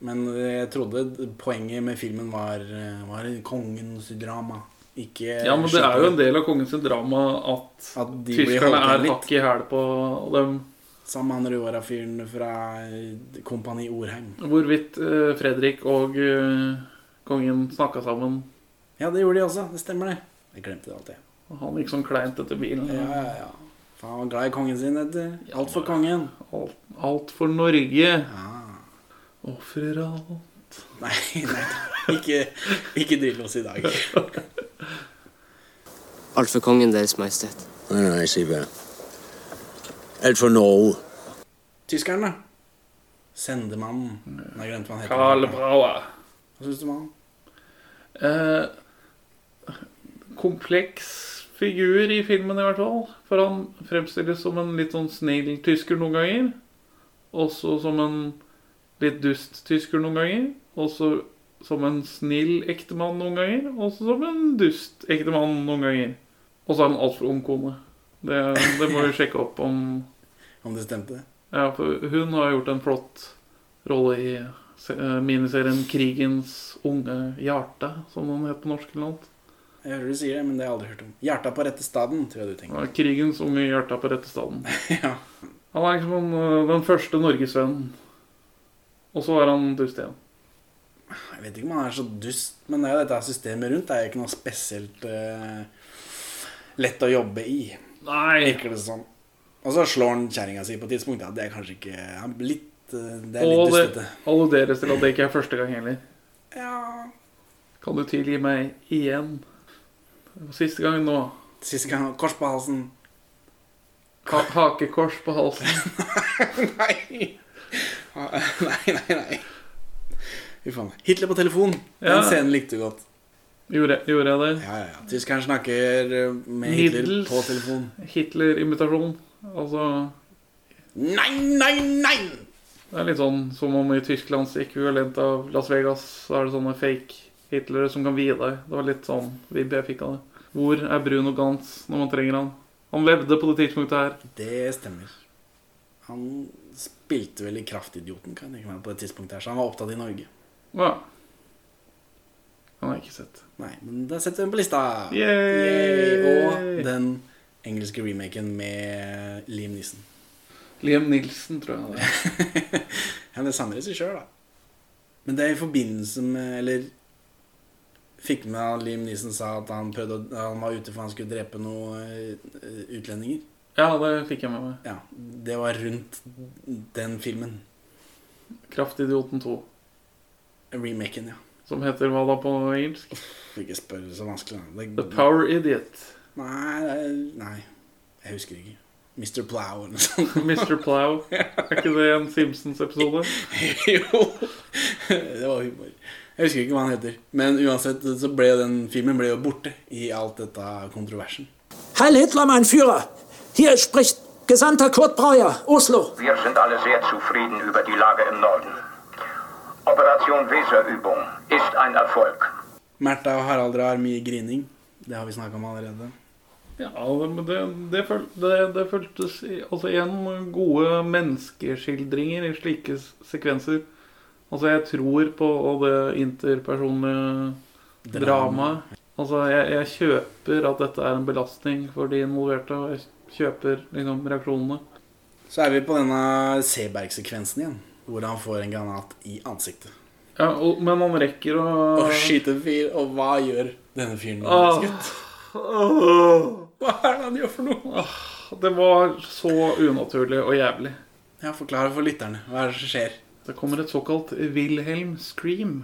S1: Men jeg trodde poenget med filmen var, var kongens drama. Ikke
S2: Ja, men det er jo en del av kongens drama at
S1: At de blir holdt
S2: tyskerne
S1: igjen
S2: er
S1: litt.
S2: hakk i hæl på dem.
S1: Sammen med han Roara-fyren fra eh, Kompani Orheim.
S2: Hvorvidt eh, Fredrik og eh, kongen snakka sammen.
S1: Ja, det gjorde de også. Det stemmer, det. Jeg glemte det alltid.
S2: Og Han gikk sånn kleint etter bilen.
S1: Ja, ja, ja. Faen, han var glad i kongen sin, vet du. Alt for kongen.
S2: Alt, alt for Norge. Ofrer alt.
S1: Nei, nei. Ikke, ikke drill oss i dag.
S10: Alt for kongen Deres Majestet.
S4: Nei, nei, Sive. Alt for Norge.
S1: Tyskeren, da. Sendemannen. Nei, jeg glemte hva han heter.
S2: Mm. Karl Brauer.
S1: Hva syns du om han?
S2: Eh, kompleks figur i filmen i hvert fall. For han fremstilles som en litt sånn snill tysker noen ganger. Også som en litt dust tysker noen ganger. Også som en snill ektemann noen ganger. Også som en dust ektemann noen ganger. Og så er han altfor ung kone. Det, det må vi sjekke opp om.
S1: Om det stemte?
S2: Ja, for hun har gjort en flott rolle i se- eh, miniserien 'Krigens unge hjerte', som den het på norsk eller noe. annet.
S1: Jeg hører du sier det, men det har jeg aldri hørt om. Hjerta på rette staden, tror jeg du tenker.
S2: Ja, krigens unge hjerte på rette staden.
S1: Ja.
S2: Han er liksom en, eh, den første norgesvennen. Og så er han dust igjen.
S1: Jeg vet ikke om han er så dust, men det er jo dette systemet rundt. Det er jo ikke noe spesielt eh, lett å jobbe i,
S2: Nei!
S1: virker det som. Og så slår han kjerringa si på et tidspunkt. Ja, det er kanskje ikke han blir litt, eh, Det er
S2: Og
S1: litt
S2: det
S1: dustete.
S2: alluderes til at det ikke er første gang heller.
S1: Ja.
S2: Kan du tilgi meg igjen? Det var Siste gang nå.
S1: Siste gang kors på halsen.
S2: Ha hakekors på halsen.
S1: Nei. Ah, Nei, nei, nei. Fy faen. Hitler på telefon.
S2: Ja.
S1: Den scenen likte du godt.
S2: Gjorde, gjorde jeg det?
S1: Ja, ja, ja. Tyskeren snakker eh, med Hitler
S2: Middels.
S1: på telefon.
S2: Hitler-imitasjon. Altså
S1: Nei, nei, nei!
S2: Det er litt sånn som om i Tysklands ekvivalent av Las Vegas, så er det sånne fake Hitlere som kan vie deg. Det var litt sånn vibb jeg fikk av det. Hvor er Bruno Gantz når man trenger han? Han levde på det tidspunktet her.
S1: Det stemmer. Han spilte vel i Kraftidioten kan jeg tenke meg, på det tidspunktet, her, så han var opptatt i Norge.
S2: Ja. Han har jeg ikke sett.
S1: Nei, men da setter vi den på lista.
S2: Yay!
S1: Og den engelske remaken med Liam Neeson.
S2: Liam Nilsen, tror jeg det er.
S1: Han er samme regissør, da. Men det er i forbindelse med Eller fikk med at Liam Neeson sa at han, prøvde, å- han var ute for han skulle drepe noen eh, utlendinger.
S2: Ja, det fikk jeg med meg.
S1: Ja, Det var rundt den filmen.
S2: Kraftidioten 2.
S1: Remaken, ja.
S2: Som heter hva da på engelsk?
S1: Får ikke spørre så vanskelig. da.
S2: The Power Idiot.
S1: Nei, det er- nei, jeg husker ikke. Mr. Plow eller noe sånt.
S2: Mr. Plow. Er ikke det en Simpsons-episode?
S1: jo! Det var humor. Jeg husker ikke hva han heter. Men uansett så ble den filmen ble jo borte i alt dette kontroversen.
S4: Heil Hitler, mein Führer! Hier spricht Gesandter Kurt Breuer, Oslo.
S5: Wir sind alle sehr zufrieden über die Lage im Norden. Operation Weserübung ist ein Erfolg.
S1: Märtha og Harald drar mye grining. Det har vi snakka om allerede.
S2: Ja, det- men det, det, føl, det, det føltes i- Altså igjen gode menneskeskildringer i slike s- sekvenser. Altså, jeg tror på det interpersonlige dramaet. Altså, jeg, jeg kjøper at dette er en belastning for de involverte, og jeg kjøper liksom reaksjonene.
S1: Så er vi på denne Seberg-sekvensen igjen. Hvor han får en granat i ansiktet.
S2: Ja, og, men man rekker å
S1: Og skyter en fyr. Og hva gjør denne fyren? når
S2: Åh.
S1: han blir skutt?
S2: Åh,
S1: Hva er det han gjør for noe?
S2: Det var så unaturlig og jævlig.
S1: Ja, Forklar for lytterne. Hva er det som skjer?
S2: Det kommer et såkalt Wilhelm Scream.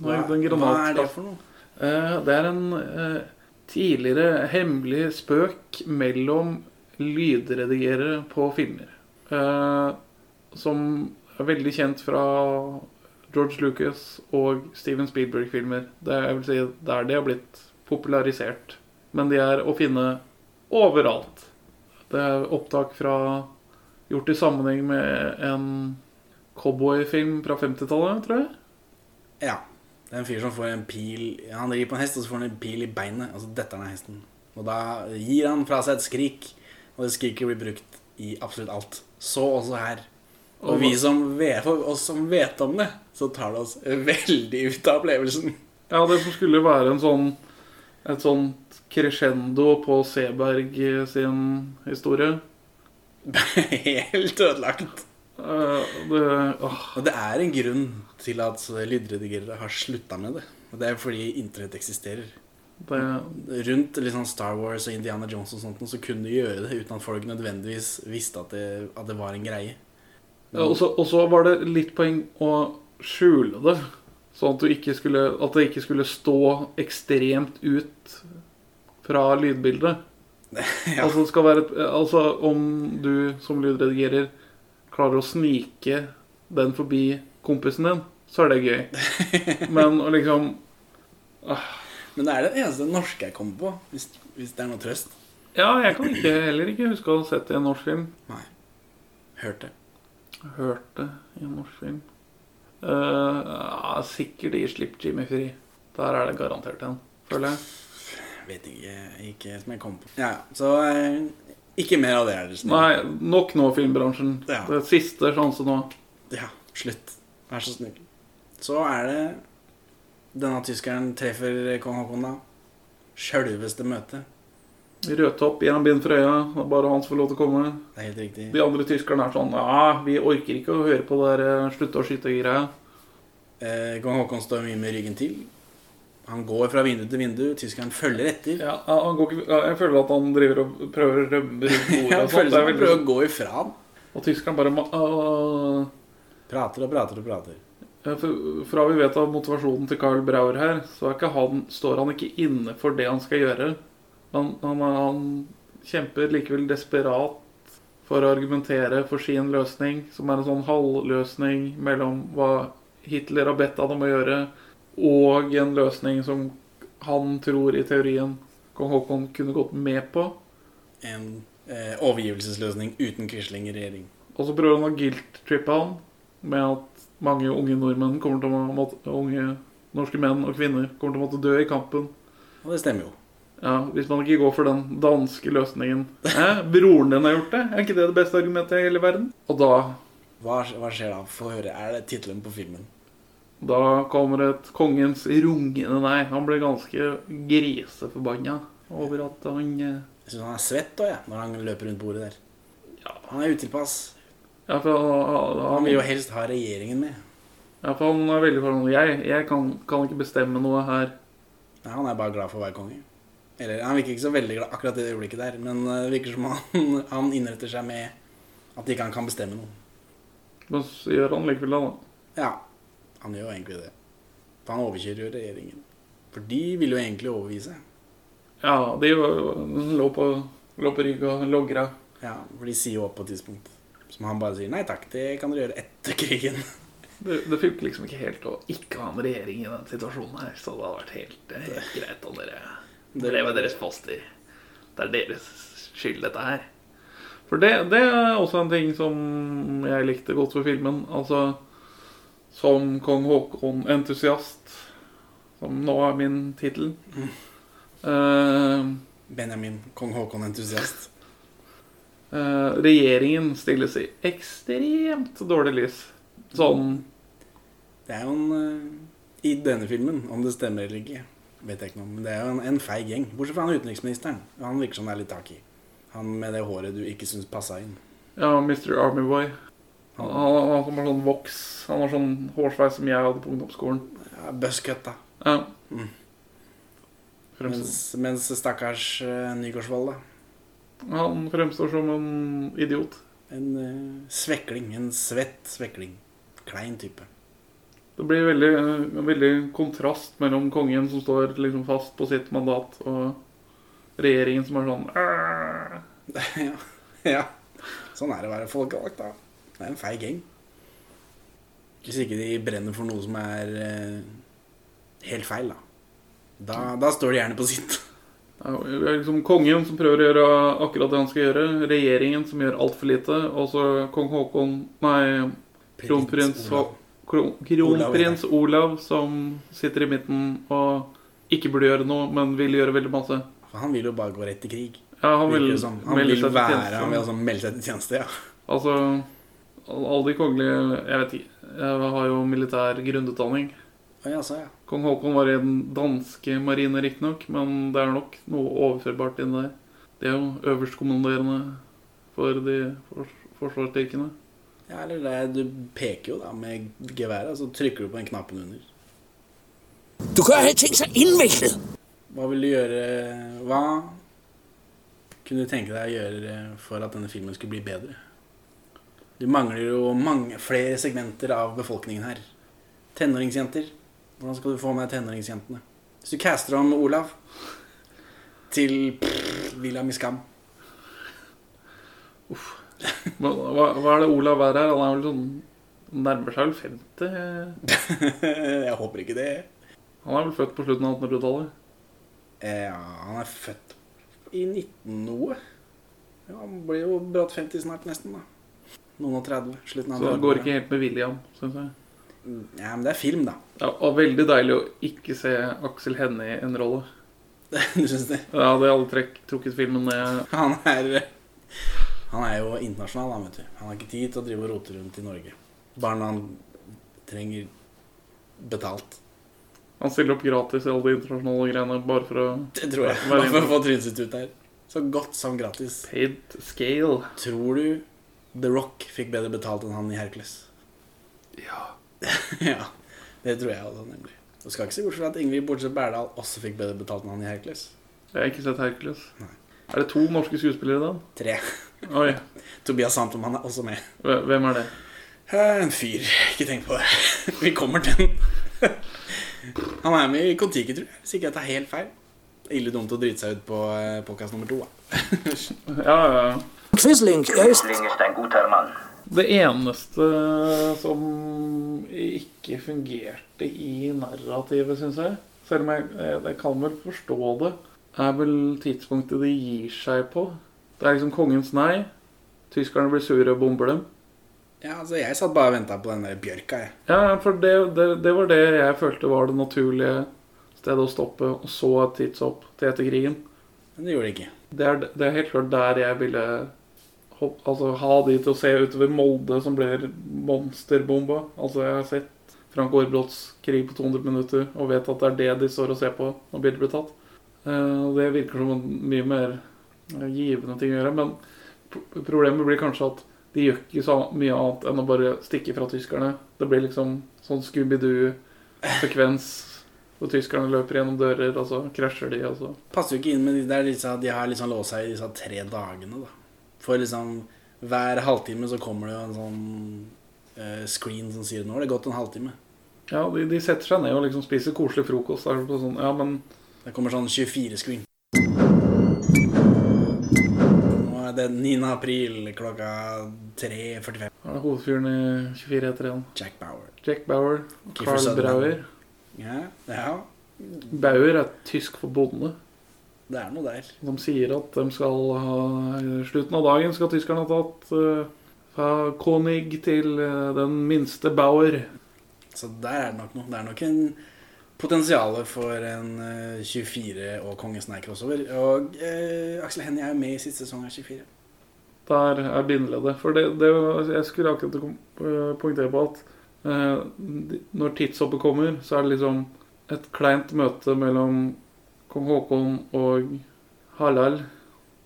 S2: Nå er det en
S1: Hva er det
S2: granatkaster.
S1: for noe?
S2: Eh, Det er en eh, tidligere hemmelig spøk mellom lydredigerere på filmer. eh, som er veldig kjent fra George Lucas og Steven Spielberg-filmer. Det er jeg vil si, der de har blitt popularisert. Men de er å finne overalt. Det er opptak fra Gjort i sammenheng med en cowboyfilm fra 50-tallet, tror jeg.
S1: Ja. Det er en fyr som får en pil Han rir på en hest, og så får han en pil i beinet. Og så detter han av hesten. Og da gir han fra seg et skrik, og det skriket blir brukt i absolutt alt. Så også her. Og vi som vet, for oss som vet om det, så tar det oss veldig ut av opplevelsen.
S2: Ja, det som skulle være en sånn et sånt crescendo på Seberg sin historie.
S1: Helt ødelagt.
S2: eh, det,
S1: Og det er en grunn til at lydredigerere har slutta med det. Og det er fordi internett eksisterer.
S2: Det-
S1: Rundt liksom Star Wars og Indiana Jones og sånt, så kunne du gjøre det uten at folk nødvendigvis visste at det, at det var en greie.
S2: Ja, Og så og så var det litt poeng å skjule det. Sånn at, du ikke skulle, at det ikke skulle stå ekstremt ut fra lydbildet. Altså, det skal være, et- altså om du som lydredigerer klarer å snike den forbi kompisen din, så er det gøy. Men å liksom
S1: Men det er den eneste norske jeg kommer på, hvis, hvis det er noe trøst.
S2: Ja, jeg kan ikke, heller ikke huske å ha sett det i en norsk film.
S1: Nei. Hørt det.
S2: Hørt det i en norsk film. Eh, ja, sikkert i Slipp Jimmy Free. Der er det garantert en, føler jeg.
S1: Vet ikke, ikke som jeg kom på. Ja, ja. så eh, ikke mer av det, er det snill.
S2: Nei, nok nå, filmbransjen.
S1: Ja.
S2: Det er siste sjanse nå.
S1: Ja, slutt. Vær så snill. Så er det denne tyskeren treffer kong Haakon, da. Sjølveste møte.
S2: Rødtopp gjennom bind for øya. Det er bare han som får lov til å komme.
S1: Det er helt riktig.
S2: De andre tyskerne er sånn Ja, vi orker ikke å høre på det der eh, slutte å skyte-greia.
S1: Eh, kong Haakon står mye med ryggen til. Han går fra vindu til vindu. Tyskeren følger etter.
S2: Ja, han går ikke, ja, jeg føler at han driver og prøver å rømme rundt bordet.
S1: Han
S2: og sånt.
S1: føler
S2: Det er
S1: som han
S2: veldig- sånn.
S1: prøver å gå ifra ham.
S2: Og tyskeren bare ma- ah,
S1: Prater og prater og prater.
S2: Ja, Eh, for- Fra vi vet av motivasjonen til Carl Brauer her, så er ikke han, står han ikke inne for det han skal gjøre. Han, han, er- han kjemper likevel desperat for å argumentere for sin løsning, som er en sånn halvløsning mellom hva Hitler har bedt han om å gjøre, og en løsning som han tror i teorien kong Haakon kunne gått med på.
S1: En eh, overgivelsesløsning uten Quisling i regjering.
S2: Og så prøver han å guilt-trippe han med at mange unge nordmenn kommer til å måtte, unge norske menn og kvinner kommer til å måtte dø i kampen.
S1: Og det stemmer jo.
S2: Ja, Hvis man ikke går for den danske løsningen. Hæ? Broren din har gjort det? Er ikke det det beste argumentet i hele verden? Og da,
S1: Hva, hva skjer da? Få høre. Er det tittelen på filmen?
S2: da kommer et kongens rungende nei. Han blir ganske griseforbanna over at han eh,
S1: Jeg syns han er svett òg, jeg, når han løper rundt bordet der. Han er utilpass.
S2: Ja, for han,
S1: Han vil jo helst ha regjeringen med.
S2: ja, for han er veldig fornøyd. Jeg, jeg kan, kan ikke bestemme noe her.
S1: Nei, han er bare glad for å være konge. Eller, Han virker ikke så veldig glad akkurat i det øyeblikket der, men eh, det virker som han, han innretter seg med at ikke han kan bestemme noe.
S2: Men så gjør han likevel det, da.
S1: Ja, han gjør jo egentlig det. For han overkjører jo regjeringen. For de vil jo egentlig overbevise.
S2: Ja, de var- lå på, lå på rygg og logra.
S1: Ja, For de sier jo opp på et tidspunkt. Som han bare sier nei takk, det kan dere gjøre etter krigen.
S2: Det, det funker liksom ikke helt å ikke ha en regjering i den situasjonen her, så det hadde vært helt, eh, helt greit om dere ble med deres poster. Det er deres skyld, dette her. For det, det er også en ting som jeg likte godt ved filmen. Altså, som kong Haakon-entusiast, som nå er min tittel eh,
S1: Benjamin, kong Haakon-entusiast.
S2: Eh, regjeringen stilles i ekstremt dårlig lys. Sånn
S1: Det er jo en eh, I denne filmen, om det stemmer eller ikke, vet jeg ikke noe om. Men det er jo en, en feig gjeng. Bortsett fra han utenriksministeren. Han virker som det er litt tak i. Han med det håret du ikke syns passa inn.
S2: Ja, Mr. Armyboy. Han, han, han som har sånn voks. Han har sånn hårsveis som jeg hadde på ungdomsskolen.
S1: Ja, Buzzcut, da.
S2: Ja.
S1: Mm. Mens,
S2: Fremst,
S1: mens stakkars uh, Nygaardsvold, da.
S2: han fremstår som en idiot.
S1: En eh, svekling. En svett svekling. Klein type.
S2: Det blir veldig, en veldig kontrast mellom kongen som står liksom fast på sitt mandat, og regjeringen som er sånn «Åh!»
S1: ja. ja. Sånn er det å være folkevalgt, da. Det er en feig gjeng. Hvis ikke de brenner for noe som er eh, helt feil, da. da. Da står de gjerne på sitt.
S2: Ja, det er liksom Kongen som prøver å gjøre akkurat det han skal gjøre, regjeringen som gjør altfor lite, og så kong Haakon Nei, kronprins
S1: Olav.
S2: Olav. Kronprins Olav som sitter i midten og ikke burde gjøre noe, men vil gjøre veldig masse.
S1: For han vil jo bare gå rett til krig.
S2: Ja, han vil,
S1: Virker det som. sånn. han
S2: melde
S1: vil
S2: seg til
S1: være,
S2: tjeneste.
S1: han vil altså melde seg til tjeneste, ja.
S2: Altså, alle de kongelige Jeg vet ikke. Jeg har jo militær grunnutdanning.
S1: Ja, sa jeg.
S2: Kong Haakon var i den danske marine, riktignok, men det er nok noe overførbart inn der. Det er jo øverstkommanderende for de fors forsvarsstyrkene.
S1: Ja, eller det, er- du peker jo da med geværet, og så trykker du på den knappen under.
S4: Du gør alting så indviklet.
S1: Hva vil du gjøre Hva kunne du tenke deg å gjøre eh, for at denne filmen skulle bli bedre? Du mangler jo mange, flere segmenter av befolkningen her. Tenåringsjenter. Hvordan skal du få med tenåringsjentene? Hvis du caster om Olav til pff, Villa Miskam
S2: Men hva, hva er det Olav er her? Han er vel sånn Nærmer seg vel 50?
S1: Jeg håper ikke det.
S2: Han er vel født på slutten av 1800-tallet?
S1: Eh, Ja, han er født i 19 noe. Ja, han blir jo brått 50 snart, nesten. da. Noen og 30. Slutten av
S2: Så det går
S1: 30.
S2: ikke helt med William, syns jeg.
S1: Ja, men det er film, da.
S2: Ja, og veldig deilig å ikke se Aksel Hennie i en rolle.
S1: du syns det?
S2: Ja, det hadde trekk, trukket filmen ned.
S1: Han er, han er jo internasjonal, han, vet du. Han har ikke tid til å drive og rote rundt i Norge. Barna han trenger betalt.
S2: Han stiller opp gratis i alle de internasjonale greiene bare for å
S1: Det tror jeg.
S2: Bare
S1: Bare for å få trynet sitt ut der. Så godt som gratis.
S2: Paid scale.
S1: Tror du The Rock fikk bedre betalt enn han i Hercules?
S2: Ja.
S1: ja, det tror jeg også, nemlig. Du skal ikke se bort fra at Ingrid Bortsett Berdal også fikk bedre betalt enn han i Hercules.
S2: Jeg har ikke sett Hercules. Er det to norske skuespillere i den?
S1: Tre.
S2: Oi.
S1: Tobias Santelmann er også med.
S2: hve- Hvem er det?
S1: Eh, En fyr. Ikke tenk på det. Vi kommer til den. Han er med i Kon-Tiki, tror jeg. Hvis ikke jeg tar helt feil. Ille dumt å drite seg ut på podkast nummer to. Da.
S2: Ja, ja, ja.
S4: Quisling er ist...
S5: Kling ist ein guter Mann.
S2: Det eneste som ikke fungerte i narrativet, syns jeg, selv om jeg, jeg, jeg kan vel forstå det, er vel tidspunktet de gir seg på. Det er liksom kongens nei. Tyskerne blir sure og bomber dem.
S1: Ja, altså, jeg satt bare og venta på den der bjørka, jeg.
S2: Ja, for det, det, det var det jeg følte var det naturlige stedet å stoppe, og så et tidshopp til etter krigen.
S1: Men det gjorde det ikke.
S2: Det er, det er helt klart der jeg ville hopp, altså, ha de til å se utover Molde, som blir monsterbomba. Altså, jeg har sett Frank Aarebrots krig på 200 minutter og vet at det er det de står og ser på når bildet blir tatt. Eh, og det virker som en mye mer eh, givende ting å gjøre. Men pro- problemet blir kanskje at de gjør ikke så mye annet enn å bare stikke fra tyskerne. Det blir liksom sånn Scooby-Doo-sekvens. Og tyskerne løper gjennom dører, og så krasjer de. og så...
S1: Passer jo ikke inn med de der disse, de har liksom låst seg i disse tre dagene, da. For liksom hver halvtime så kommer det jo en sånn eh, screen som sier 'nå har det gått en halvtime'.
S2: Ja, de, de setter seg ned og liksom spiser koselig frokost. Det er det sånn, ja, men
S1: Det kommer sånn 24-screen. Nå er det 9. april klokka 3.45.
S2: er det hovedfyren i 24 etter igjen?
S1: Jack Bauer.
S2: Jack Bauer.
S1: Kiefer
S2: Carl
S1: Sutherland.
S2: Brauer.
S1: Ja, ja,
S2: Bauer er tysk for bonde.
S1: det er noe der.
S2: De sier at de skal ha i slutten av dagen skal tyskerne ha tatt eh, fra Konig til eh, den minste Bauer.
S1: Så der er det nok noe. Det er nok en potensial for en eh, 24 og Kongens Nei-crossover. Og eh, Aksel Hennie er jo med i siste sesong av 24.
S2: Der er bindeleddet. For det, det var- jeg skulle akkurat kom- eh, poengtere på at eh, de- når tidshoppet kommer, så er det liksom et kleint møte mellom kong Haakon og Harald,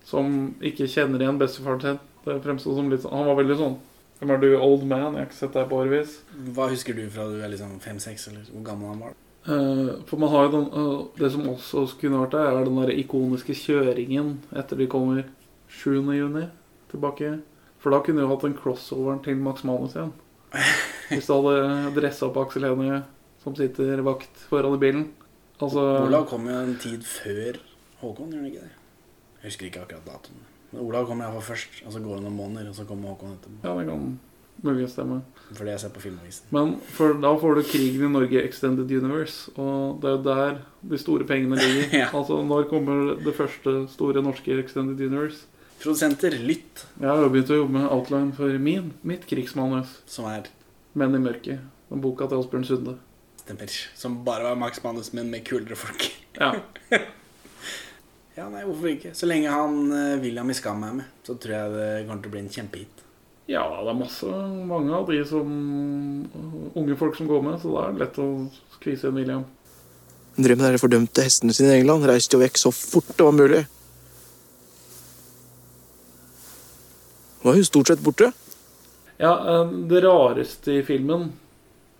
S2: som ikke kjenner igjen bestefaren sin. Det fremstod som litt sånn Han var veldig sånn Hvem er du, old man? Jeg har ikke sett deg på årevis.
S1: Hva husker du fra du er liksom 5-6, eller hvor gammel han var?
S2: Eh, For man har jo den eh, Det som også kunne vært der, er den der ikoniske kjøringen etter de kommer 7. juni tilbake. For da kunne du hatt den crossoveren til Max Manus igjen. Hvis du hadde dressa opp Aksel Hennie, som sitter vakt foran i bilen. Altså
S1: Olav kom jo en tid før Håkon, gjør han ikke det? Jeg husker ikke akkurat datoen. Men Olav kommer iallfall først, og så går det noen måneder, og så kommer Håkon etterpå.
S2: Ja, det kan muligens stemme.
S1: Fordi jeg ser på Filmavisen.
S2: Men for da får du krigen i Norge Extended Universe, og det er jo der de store pengene ligger.
S1: Ja.
S2: Altså, når kommer det første store norske Extended Universe?
S1: Produsenter, lytt,
S2: Jeg har jo begynt å jobbe med outline for min, mitt krigsmanus.
S1: som er
S2: Menn i mørket. Den boka til Asbjørn Sunde.
S1: stemmer. Som bare var Max Manus, men med kulere folk.
S2: Ja.
S1: Ja, nei, hvorfor ikke? Så lenge han eh, William i Skam er med, så tror jeg det kommer til å bli en kjempehit.
S2: Ja, det er masse, mange av de som unge folk som går med, så det er lett å skvise en William.
S6: Drømmen er de fordømte hestene sine i England reiste jo vekk så fort det var mulig. Nå er hun stort sett borte.
S2: Ja, eh, Det rareste i filmen,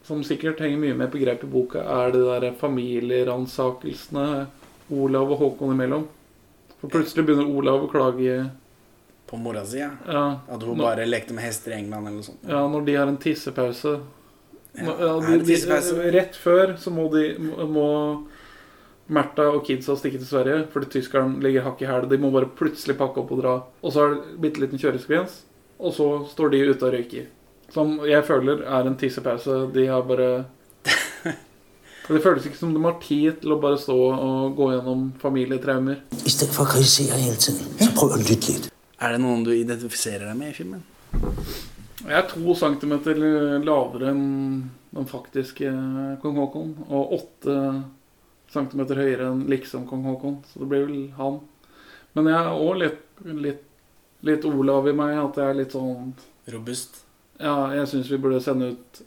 S2: som sikkert henger mye med på grep i boka, er de der familieransakelsene Olav og Håkon imellom. For plutselig begynner Olav å klage
S1: På mora si, ja.
S2: ja,
S1: At hun
S2: nå-
S1: bare lekte med hester i England eller noe sånt.
S2: ja, når de har en tissepause. Nå- Ja,
S1: er
S2: de,
S1: det
S2: de,
S1: tissepause?
S2: rett før så må de må Märtha og kidsa stikke til Sverige fordi tyskeren ligger hakk i hæl. De må bare plutselig pakke opp og dra. Og så er det bitte liten kjøreskvens, og så står de ute og røyker. Som jeg føler er en tissepause. De har bare Det føles ikke som de har tid til å bare stå og gå gjennom familietraumer.
S4: I stedet for å kritisere hele tiden, så prøv å lytte litt.
S1: Er det noen du identifiserer deg med i filmen?
S2: Jeg er to centimeter lavere enn den faktiske eh, kong Haakon. Og åtte centimeter høyere enn liksom kong Haakon. Så det blir vel han. Men jeg er òg litt, litt, litt Olav i meg. At jeg er litt sånn
S1: Robust.
S2: Ja, jeg syns vi burde sende ut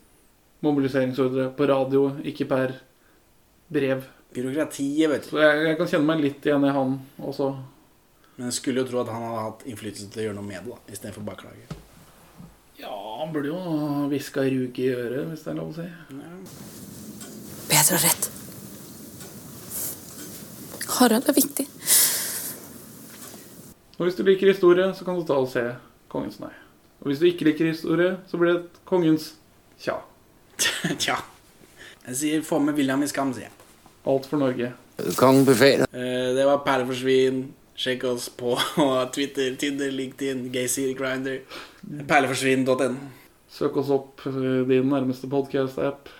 S2: mobiliseringsordre på radio, ikke per brev.
S1: Byråkratiet, vet du.
S2: Så jeg, jeg kan kjenne meg litt igjen i han også.
S1: Men jeg skulle jo tro at han hadde hatt innflytelse til å gjøre noe med det, da, istedenfor bare klage.
S2: Ja, han burde jo ha hviska rug i øret, hvis det er lov å si.
S7: Bedre og rett. Harald er viktig.
S2: Og hvis du liker historie, så kan du ta og se Kongens nei. Og hvis du ikke liker historie, så blir det et Kongens tja.
S1: Tja. Jeg sier få med William i Skam, sier jeg.
S2: Alt for Norge.
S11: Kongen befaler.
S1: Eh, Det var Perle for svin. Sjekk oss på Twitter, Tinder, LinkedIn, Gaysir, Grinder. Perleforsvin.no.
S2: Søk oss opp eh, din nærmeste podkast-app.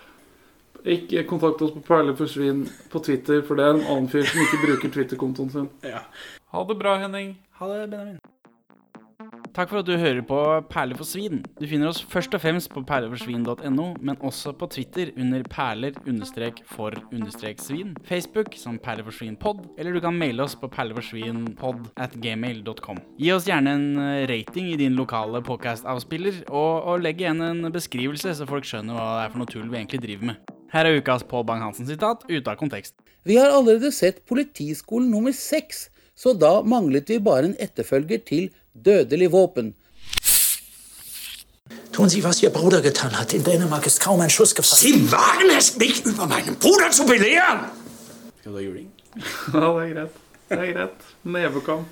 S2: Ikke kontakt oss på Perle forsvinn på Twitter, for det er en annen fyr som ikke bruker Twitter-kontoen sin.
S1: Ja.
S2: Ha det bra, Henning.
S1: Ha det, Benjamin.
S12: Takk for at du hører på Perler for svin. Du finner oss først og fremst på perleforsvin.no, men også på Twitter under perler-for-svin, Facebook som perleforsvinpod, eller du kan maile oss på perleforsvinpod at gmail.com. Gi oss gjerne en eh, rating i din lokale podcast-avspiller, og, og legg igjen en beskrivelse, så folk skjønner hva det er for noe tull vi egentlig driver med. Her er ukas Pål Bang-Hansen-sitat ute av kontekst.
S13: Vi har allerede sett Politiskolen nummer seks, så da manglet vi bare en etterfølger til Dødelig våpen.
S4: Tun Sie, was Ihr Bruder getan hat. In Dänemark ist kaum ein Schuss gefallen. Sie wagen es, mich über meinen Bruder zu belehren!
S1: Skal du ha juling?
S2: Ja, det er greit. Det er greit. Nevekamp.